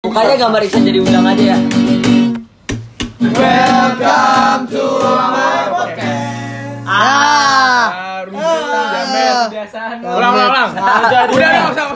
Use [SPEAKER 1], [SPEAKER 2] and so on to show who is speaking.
[SPEAKER 1] Mukanya gambar Iksan jadi ulang aja ya.
[SPEAKER 2] Welcome to my podcast.
[SPEAKER 1] Ah.
[SPEAKER 3] Ah, rusuh, jamet.
[SPEAKER 2] Biasa.
[SPEAKER 3] Ulang, ulang, ulang. Udah, udah, nggak usah.